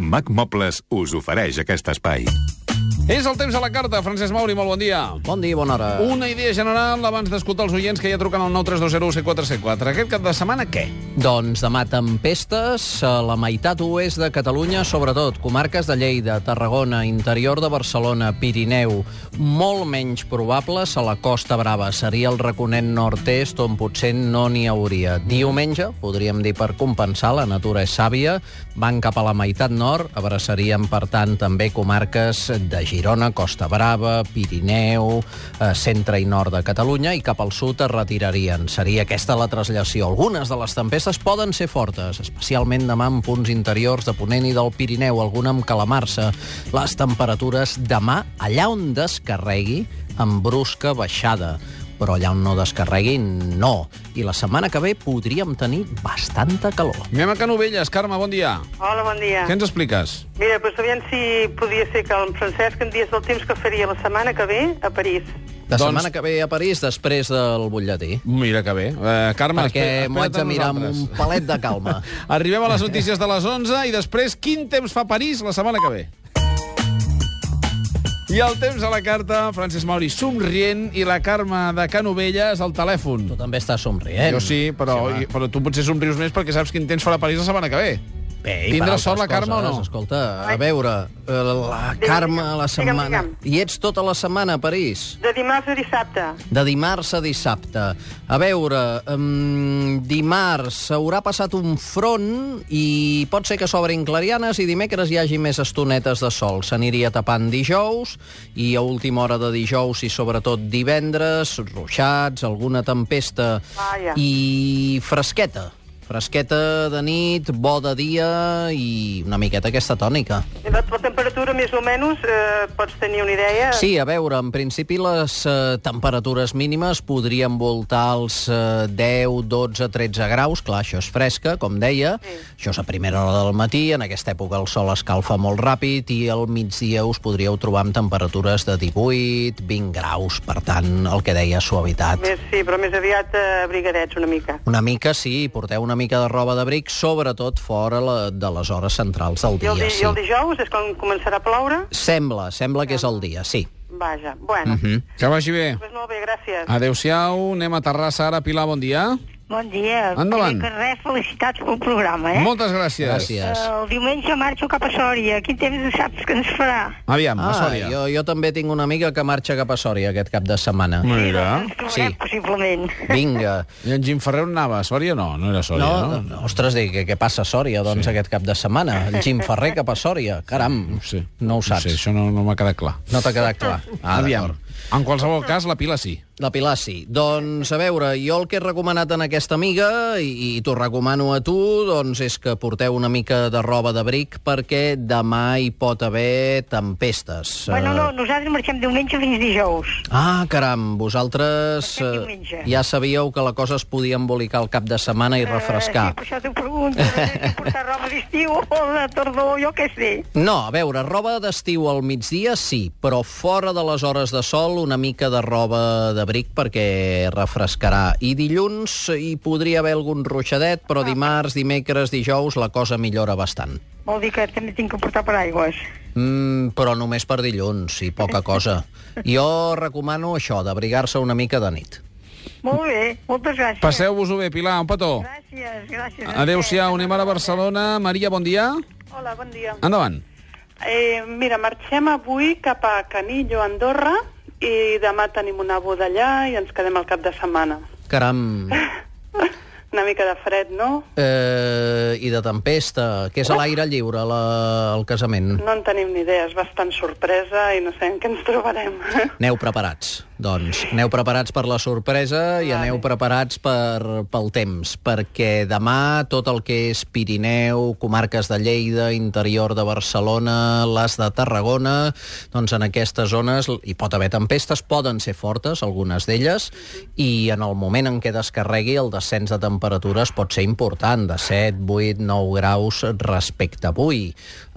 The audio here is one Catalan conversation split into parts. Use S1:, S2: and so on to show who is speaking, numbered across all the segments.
S1: Mac Mobles us ofereix aquest espai.
S2: És el temps a la carta. Francesc Mauri, molt bon dia.
S3: Bon dia, bona hora.
S2: Una idea general abans d'escoltar els oients que ja truquen al 932017474. Aquest cap de setmana, què?
S3: Doncs demà tempestes a la meitat oest de Catalunya, sobretot comarques de Lleida, Tarragona, interior de Barcelona, Pirineu. Molt menys probables a la Costa Brava. Seria el raconent nord-est on potser no n'hi hauria. Diumenge, podríem dir per compensar, la natura és sàvia, van cap a la meitat nord, abraçarien, per tant, també comarques de Girona, Costa Brava, Pirineu, eh, centre i nord de Catalunya, i cap al sud es retirarien. Seria aquesta la traslació. Algunes de les tempestes poden ser fortes, especialment demà en punts interiors de Ponent i del Pirineu, alguna amb calamar-se. Les temperatures demà, allà on descarregui, amb brusca baixada però allà on no descarreguin, no. I la setmana que ve podríem tenir bastanta calor.
S2: Anem a Canovelles. Carme, bon dia.
S4: Hola, bon dia.
S2: Què ens expliques?
S4: Mira, doncs aviam si podia ser que el Francesc em digués el temps que faria la setmana que ve a París.
S3: La doncs...
S2: Doncs-
S3: setmana que ve a París, després del butlletí.
S2: Mira que bé. Uh, Carme,
S3: Perquè
S2: espera-
S3: m'ho haig
S2: espera't
S3: de mirar amb
S2: nosaltres.
S3: un palet de calma.
S2: Arribem a les notícies de les 11 i després quin temps fa París la setmana que ve. I el temps a la carta, Francesc Mauri somrient i la Carme de Canovelles al telèfon.
S3: Tu també estàs somrient.
S2: Jo sí, però,
S3: Sí, va.
S2: i- però tu potser somrius més perquè saps quin temps farà París la setmana que ve.
S3: Bé, i
S2: Tindrà
S3: per
S2: sort la
S3: altres
S2: Carme o
S3: coses,
S2: no?
S3: Escolta, a veure, eh, la
S4: Digue'm,
S3: Carme
S4: digue'm,
S3: la setmana...
S4: digue'm.
S3: I ets tota la setmana a París?
S4: De dimarts a dissabte.
S3: De dimarts a dissabte. A veure, um, dimarts haurà passat un front i pot ser que s'obrin clarianes i dimecres hi hagi més estonetes de sol. S'aniria tapant dijous i a última hora de dijous i sobretot divendres, ruixats, alguna tempesta
S4: Vaja.
S3: i fresqueta. Fresqueta de nit, bo de dia i una miqueta aquesta tònica.
S4: La, la temperatura, més o menys, eh, pots tenir una idea?
S3: Sí, a veure, en principi les eh, temperatures mínimes podrien voltar els eh, 10, 12, 13 graus. Clar, això és fresca, com deia.
S4: Sí.
S3: Això és a primera hora del matí. En aquesta època el sol escalfa molt ràpid i al migdia us podríeu trobar amb temperatures de 18, 20 graus. Per tant, el que deia, suavitat.
S4: Més, sí, però més aviat eh, abrigadets una mica.
S3: Una mica, sí, porteu una mica de roba d'abric, sobretot fora la, de les hores centrals del
S4: I
S3: dia.
S4: el, di
S3: sí.
S4: I el dijous és quan començarà a ploure?
S3: Sembla, sembla que és el dia, sí.
S4: Vaja, bueno.
S3: Mhm.
S4: Mm -hmm.
S2: Que vagi bé.
S4: Pues molt bé, gràcies.
S2: Ah. Adéu-siau, anem a Terrassa ara. Pilar, bon dia.
S5: Bon dia.
S2: Endavant.
S5: Primer que res, felicitats pel programa, eh?
S2: Moltes gràcies.
S3: Gràcies.
S5: Eh, El diumenge marxo cap a Sòria. Quin temps saps que ens farà?
S2: Aviam, ah, a
S3: Ah,
S2: Sòria.
S3: jo, jo també tinc una amiga que marxa cap a Sòria aquest cap de setmana.
S2: Mira.
S5: Ens trobarem,
S3: Sí.
S5: possiblement.
S3: Vinga.
S2: I en Jim Ferrer on anava? A Sòria no, no era a Sòria,
S3: No,
S2: no?
S3: no, ostres, dic, què passa a Sòria, doncs, sí. aquest cap de setmana? El Jim Ferrer cap a Sòria? Caram,
S2: sé.
S3: no ho
S2: No sé,
S3: saps.
S2: això no, no m'ha quedat clar.
S3: No t'ha quedat clar. Ah,
S2: Aviam.
S3: d'acord.
S2: En qualsevol cas, la Pilar sí.
S3: La Pilar, sí. Doncs, a veure, jo el que he recomanat en aquesta amiga, i, i t'ho recomano a tu, doncs és que porteu una mica de roba d'abric perquè demà hi pot haver
S2: Doncs,
S3: tempestes.
S5: Bueno,
S3: Eh,
S5: no, nosaltres marxem diumenge fins dijous.
S3: Ah, caram,
S5: Aquest
S3: vosaltres eh,
S5: diumenge.
S3: ja sabíeu que la cosa es podia embolicar el cap de setmana i refrescar.
S5: Eh, sí, per això t'ho pregunto. Has de portar roba d'estiu o de tardor, jo què sé.
S3: No, a veure, roba d'estiu al migdia sí, però fora de les hores de sol una mica de roba d'abric perquè refrescarà. I dilluns hi podria haver algun ruixadet,
S5: Ah.
S3: però dimarts, dimecres, dijous la cosa millora bastant.
S5: Vol dir que també tinc que portar paraigües.
S3: Mm, però només per dilluns, i poca cosa. Jo recomano això, d'abrigar-se una mica de nit.
S5: Molt bé, moltes gràcies.
S2: Passeu-vos-ho bé, Pilar, un petó.
S5: Gràcies, gràcies.
S2: Adéu-siau, anem ara a Barcelona. Maria, bon dia.
S4: Hola, bon dia.
S2: Endavant.
S4: Eh, mira, marxem avui cap a Canillo, Andorra, i demà tenim una boda allà i ens quedem al cap de setmana.
S3: Caram,
S4: Una mica de fred, no?
S3: eh, i de tempesta, que és a l'aire lliure la, el casament.
S4: No en tenim ni idea, és bastant sorpresa i no sé en què ens trobarem.
S3: Aneu preparats, doncs. Aneu preparats per la sorpresa i aneu preparats per, pel temps, perquè demà tot el que és Pirineu, comarques de Lleida, interior de Barcelona, les de Tarragona, doncs en aquestes zones hi pot haver tempestes, poden ser fortes, algunes d'elles, i en el moment en què descarregui el descens de temperatures pot ser important, de 7, 8, 9 graus respecte a avui.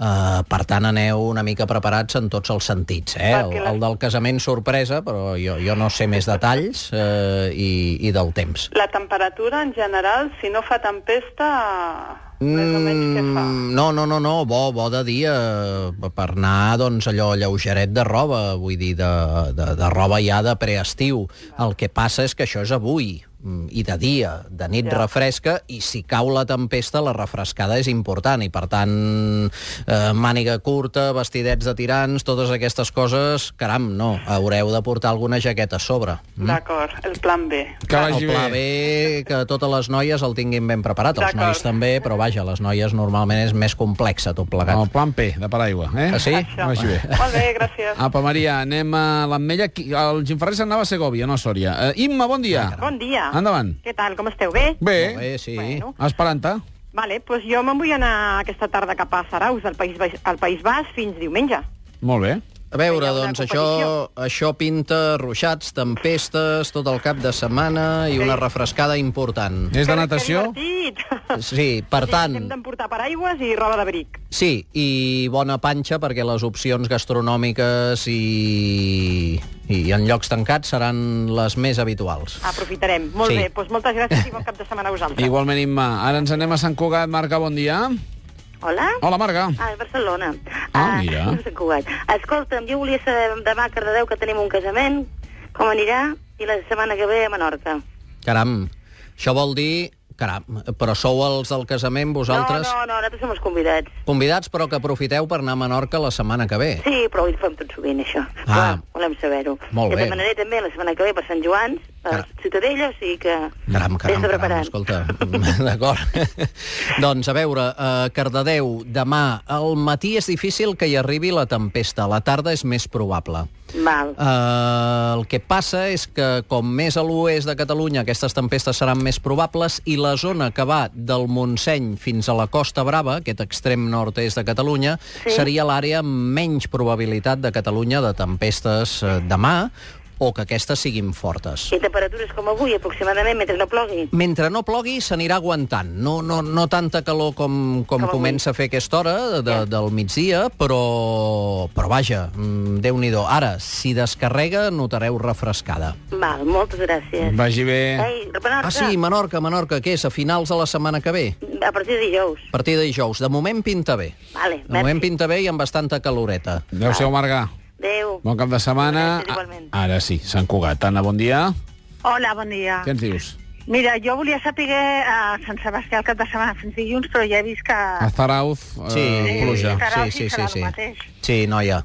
S3: Uh, per tant, aneu una mica preparats en tots els sentits, eh? El,
S4: Perquè les-
S3: el del casament sorpresa, però jo, jo no sé més detalls eh, i, i del temps.
S4: La temperatura en general, si no fa tempesta, Més o menys què fa?
S3: Mm, no, no, no, no, bo, bo de dia eh, per anar, doncs, allò lleugeret de roba, vull dir, de, de, de roba ja de preestiu. El que passa és que això és avui, mm, i de dia, de nit ja. refresca, i si cau la tempesta, la refrescada és important, i per tant, eh, màniga curta, vestidets de tirants, totes aquestes coses, caram, no, haureu de portar alguna jaqueta a sobre.
S2: Mm.
S4: D'acord, el plan B.
S2: Que vagi
S3: El pla B,
S2: bé.
S3: que totes les noies el tinguin ben preparat, els
S4: D'acord.
S3: nois també, però vaja, les noies normalment és més complexa tot plegat.
S2: El plan P, de paraigua, eh?
S3: Ah, sí?
S2: Que vagi bé. Ah.
S4: Molt bé, gràcies.
S2: Apa, Maria, anem a l'Ametlla. Qui- El Gimferrer se'n anava a Segovia, no a Sòria. Eh, Imma, bon dia.
S5: Bon dia.
S2: Endavant.
S5: Què tal, com esteu? Bé?
S3: Molt
S2: Bé,
S3: Bé, sí.
S5: Bueno.
S2: Esperanta.
S5: Vale, doncs jo me'n vull anar aquesta tarda cap a Saraus, al País, Baix, al País Bas, fins diumenge.
S2: Molt bé.
S3: A veure,
S5: Hi ha una
S3: doncs això, això pinta ruixats, tempestes, tot el cap de setmana i una refrescada important.
S2: És de
S5: Que-
S2: natació?
S5: Que divertit!
S3: Sí, per
S5: Sí, hem
S3: tant,
S5: d'emportar paraigües i roba d'abric.
S3: sí, i bona panxa perquè les opcions gastronòmiques i, i en llocs tancats seran les més habituals.
S5: Aprofitarem. Molt
S3: Sí.
S5: bé, doncs moltes gràcies i bon cap de setmana a vosaltres.
S2: Igualment, Imma. Ara ens anem a Sant Cugat. Marga, bon dia.
S6: Hola?
S2: Hola, Marga.
S6: Ah, és Barcelona.
S2: Ah, mira.
S6: no sé Cugat. Escolta'm, jo volia saber demà a Cardedeu que tenim un casament, com anirà, i la setmana que ve a Menorca.
S3: Caram, això vol dir... Caram, però sou els del casament, vosaltres?
S6: No, no, no, nosaltres som els convidats.
S3: Convidats, però que aprofiteu per anar a Menorca la setmana que ve.
S6: Sí, però ho fem tot sovint, això.
S3: Ah.
S6: Clar, volem saber-ho.
S3: Molt
S6: Jo
S3: bé.
S6: demanaré també la setmana que ve per Sant Joan, a
S3: Caram.
S6: Ciutadella, o sigui que...
S3: Caram, caram,
S6: Vés-te
S3: caram,
S6: preparant.
S3: escolta, d'acord. doncs, a veure, uh, Cardedeu, demà al matí és difícil que hi arribi la tempesta, a la tarda és més probable.
S6: Val.
S3: Uh, el que passa és que com més a l'oest de Catalunya aquestes tempestes seran més probables i la zona que va del Montseny fins a la Costa Brava, aquest extrem nord-est de Catalunya, sí. seria l'àrea amb menys probabilitat de Catalunya de tempestes uh, demà o que aquestes siguin fortes.
S6: I temperatures com avui, aproximadament, mentre no plogui.
S3: Mentre no plogui, s'anirà aguantant. No, no, no tanta calor com, com,
S6: avui.
S3: comença a fer aquesta hora de, de, del migdia, però, però vaja, mm, déu-n'hi-do. Ara, si descarrega, notareu refrescada.
S6: Val, moltes gràcies.
S2: Vagi bé.
S6: Ei, Menorca,
S3: Ah, sí, Menorca, Menorca, què és? A finals de la setmana que ve?
S6: a partir de dijous.
S3: A partir de dijous. De moment pinta bé.
S6: Vale,
S3: De moment
S6: merci.
S3: pinta bé i amb bastanta caloreta.
S2: Adéu-siau, Marga.
S6: Adéu.
S2: Bon cap de setmana.
S6: Gràcies, igualment. Ah.
S2: Ah, Ara sí, Sant Cugat. Anna, bon dia.
S7: Hola, bon dia.
S2: Què ens dius?
S7: Mira, jo volia saber a Sant Sebastià el cap de setmana fins dilluns, però ja he vist que...
S6: Ah.
S2: A Zarauz, eh, pluja.
S7: Serà-
S3: Sí,
S7: sí,
S3: sí, sí,
S7: serà el
S3: sí.
S7: mateix.
S3: Sí, noia.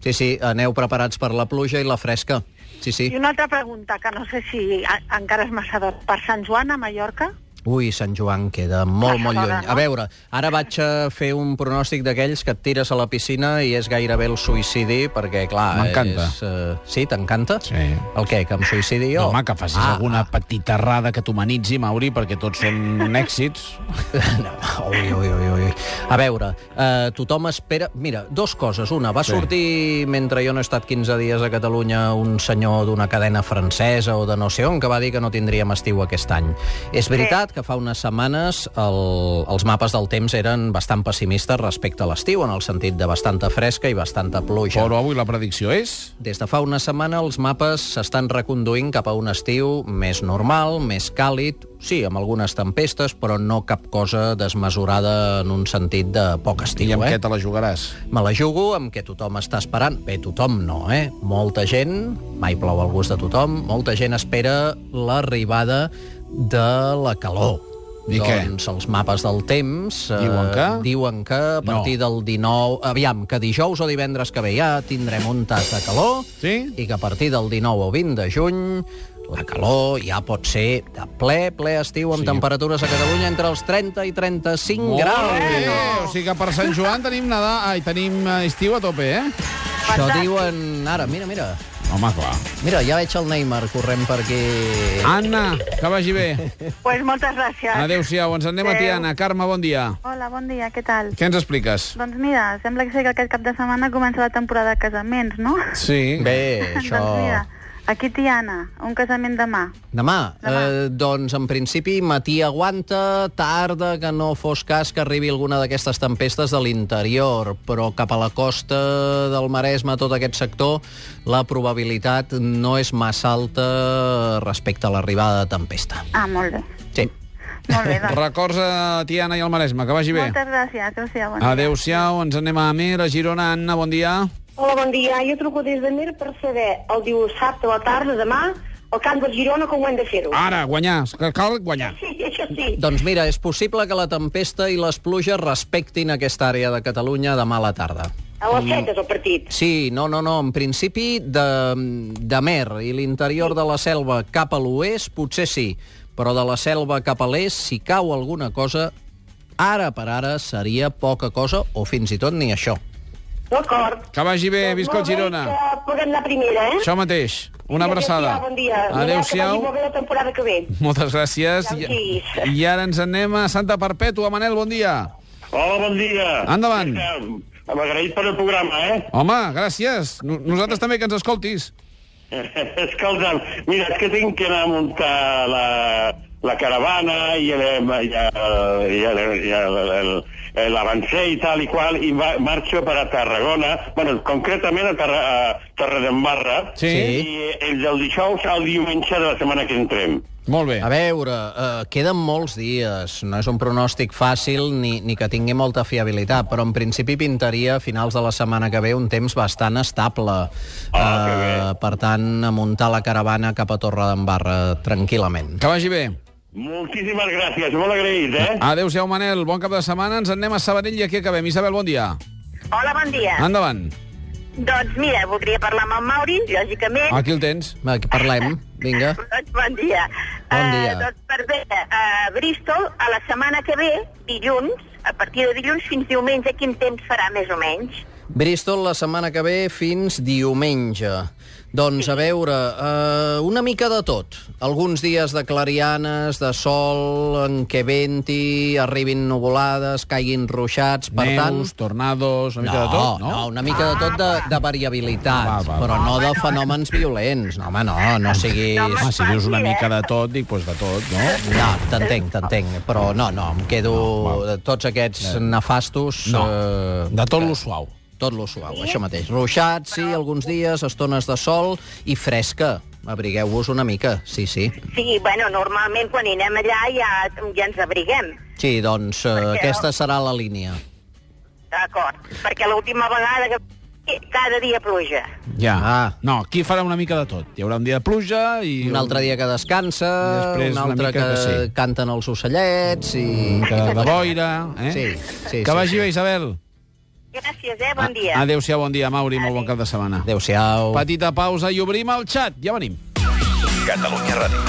S3: Sí, sí, aneu preparats per la pluja i la fresca. Sí, sí.
S7: I una altra pregunta, que no sé si a, encara és massa d'hora. Per Sant Joan, a Mallorca?
S3: Ui, Sant Joan queda molt, molt
S7: fora,
S3: lluny.
S7: no?
S3: A veure, ara vaig a fer un pronòstic d'aquells que et tires a la piscina i és gairebé el suïcidi, perquè, clar...
S2: M'encanta.
S3: és, Eh, sí, t'encanta?
S2: Sí.
S3: El què, que em suïcidi jo?
S2: No, home, que facis
S3: Ah,
S2: alguna petita errada que t'humanitzi, Mauri, perquè tots són èxits.
S3: No, ui, ui, ui, ui. A veure, eh, tothom espera... Mira, dos coses. Una, va
S2: Sí.
S3: sí. sortir, mentre jo no he estat 15 dies a Catalunya, un senyor d'una cadena francesa o de no sé on que va dir que no tindríem estiu aquest any. És veritat que fa unes setmanes el, els mapes del temps eren bastant pessimistes respecte a l'estiu, en el sentit de bastanta fresca i bastanta pluja.
S2: Però avui la predicció és...
S3: Des de fa una setmana els mapes s'estan reconduint cap a un estiu més normal, més càlid, sí, amb algunes tempestes, però no cap cosa desmesurada en un sentit de poc estiu.
S2: I amb
S3: eh?
S2: què te la jugaràs?
S3: Me la jugo amb que tothom està esperant. Bé, tothom no, eh? Molta gent, mai plou al gust de tothom, molta gent espera l'arribada de la calor.
S2: I què?
S3: doncs els mapes del temps eh,
S2: Diuen que?
S3: diuen que a partir del 19... Aviam, que dijous o divendres que ve ja tindrem un tas de calor
S2: Sí?
S3: i que a partir del 19 o 20 de juny la calor ja pot ser de ple, ple estiu amb sí. temperatures a Catalunya entre els 30 i 35
S2: Molt
S3: graus.
S2: bé. O sigui que per Sant Joan tenim nadar... Ai, tenim eh, estiu a tope, eh?
S3: Això diuen ara, mira, mira.
S2: Home, clar.
S3: Mira, ja veig el Neymar corrent per aquí.
S8: Ah,
S2: Anna, que vagi bé.
S7: Doncs pues moltes gràcies.
S2: Adéu-siau, ens en anem a Tiana. Carme, bon dia.
S8: Hola, bon dia, què tal?
S2: Què ens expliques?
S8: Doncs mira, sembla que sé que aquest cap de setmana comença la temporada de casaments, no?
S2: Sí.
S3: Bé, això...
S8: Doncs mira, aquí Tiana, un casament demà.
S3: Demà, Demà. Eh, doncs en principi matí aguanta, tarda, que no fos cas que arribi alguna d'aquestes tempestes de l'interior, però cap a la costa del Maresme, tot aquest sector, la probabilitat no és massa alta respecte a l'arribada de tempesta.
S8: Ah, molt bé.
S3: Sí.
S8: Molt bé, doncs.
S2: Records a Tiana i al Maresme, que vagi bé.
S8: Moltes gràcies. Adéu-siau. Bon dia.
S2: Adéu-siau, ens anem a Amer, a Girona. Anna, bon dia.
S6: Hola, bon dia. Jo truco des de Mer per saber el dissabte a la tarda, demà, al camp de Girona, com ho hem de fer-ho.
S2: Ara, guanyar, és que cal guanyar.
S6: Sí, això sí.
S3: Doncs mira, és possible que la tempesta i les pluges respectin aquesta àrea de Catalunya demà a la tarda.
S6: A les 7 és el partit.
S3: Sí, no, no, no, en principi de, de mer i l'interior de la selva cap a l'oest, potser sí, però de la selva cap a l'est, si cau alguna cosa, ara per ara seria poca cosa o fins i tot ni això.
S6: D'acord.
S2: Que vagi bé, visca el Girona.
S6: Doncs Que puguem anar primera, eh?
S2: Això mateix, una abraçada.
S6: Adéu-siau, bon dia. Que vagi molt
S2: Adéu-siau.
S6: bé la temporada que ve.
S2: Moltes gràcies.
S6: Ja ho
S2: I,
S6: diguis.
S2: I ara ens anem a Santa Perpètua. Manel, bon dia.
S9: Hola, bon dia.
S2: Endavant.
S9: Eh, Agraït per el programa, eh?
S2: Home, gràcies. No- Nosaltres també que ens escoltis.
S9: Escolta'm, mira, és que tinc que anar a muntar la, la caravana i el- i el- i el- i el- el- l'avancer i tal i qual, i va, marxo per a Tarragona, bueno, concretament a, Tarra, a Torredembarra,
S2: Sí.
S3: Sí.
S9: i el del dijous al diumenge de la setmana que entrem.
S2: Molt bé.
S3: A veure, eh, queden molts dies, no és un pronòstic fàcil ni, ni que tingui molta fiabilitat, però en principi pintaria a finals de la setmana que ve un temps bastant estable. eh,
S9: Ah, que bé.
S3: per tant, a muntar la caravana cap a Torre d'Embarra tranquil·lament.
S2: Que vagi bé.
S9: Moltíssimes gràcies, molt agraït, eh?
S2: Adéu-siau, Manel. Bon cap de setmana. Ens en anem a Sabadell i aquí acabem. Isabel, bon dia.
S7: Hola, bon dia.
S2: Endavant.
S7: Doncs mira, voldria parlar amb el Mauri, lògicament.
S2: Aquí el tens.
S3: Va, que parlem, vinga.
S7: Doncs bon dia.
S3: Bon dia.
S7: Eh, doncs per bé, a Bristol, a la setmana que ve, dilluns, a partir de dilluns fins diumenge, quin temps farà més o menys?
S3: Bristol la setmana que ve fins diumenge. Doncs a veure, eh, una mica de tot. Alguns dies de clarianes, de sol, en què venti, arribin nuvolades, caiguin ruixats, per tant...
S2: Neus, tornados, una mica
S3: no,
S2: de tot, no? Ah,
S3: no, una mica de tot de, de variabilitat,
S2: Va, va, va.
S3: però no de fenòmens violents. No, home, no, no siguis...
S7: No,
S2: Home,
S7: home,
S2: Ah, si dius una
S7: fàcil, eh?
S2: mica de tot, dic, doncs de tot, no?
S3: No, t'entenc, t'entenc, però no, no, em quedo de tots aquests nefastos...
S2: No,
S3: eh,
S2: de tot
S3: que-
S2: lo suau.
S3: Tot lo suau, això mateix. Ruixats, sí, alguns dies, estones de sol i fresca. Abrigueu-vos una mica, sí, sí.
S7: Sí, bueno, normalment quan hi anem allà ja, ja ens abriguem.
S3: Sí, doncs eh, aquesta serà la línia.
S7: D'acord, perquè l'última vegada que cada dia pluja.
S2: Ja.
S3: Ah.
S2: No, aquí farà una mica de tot. Hi haurà un dia de pluja i...
S3: Un altre dia que descansa,
S2: I després
S3: un
S2: una
S3: altre
S2: mica
S3: que,
S2: que sí.
S3: canten els ocellets i...
S2: Que de boira, eh?
S3: Sí, sí,
S2: Que
S3: sí,
S2: vagi
S3: sí.
S2: bé, Isabel.
S7: Gràcies, eh?
S3: Ah,
S7: Bon dia.
S2: Adéu-siau, bon dia, Mauri. Molt bon cap de setmana.
S3: Adéu-siau.
S2: Petita pausa i obrim el xat. Ja venim.
S10: Catalunya Ràdio.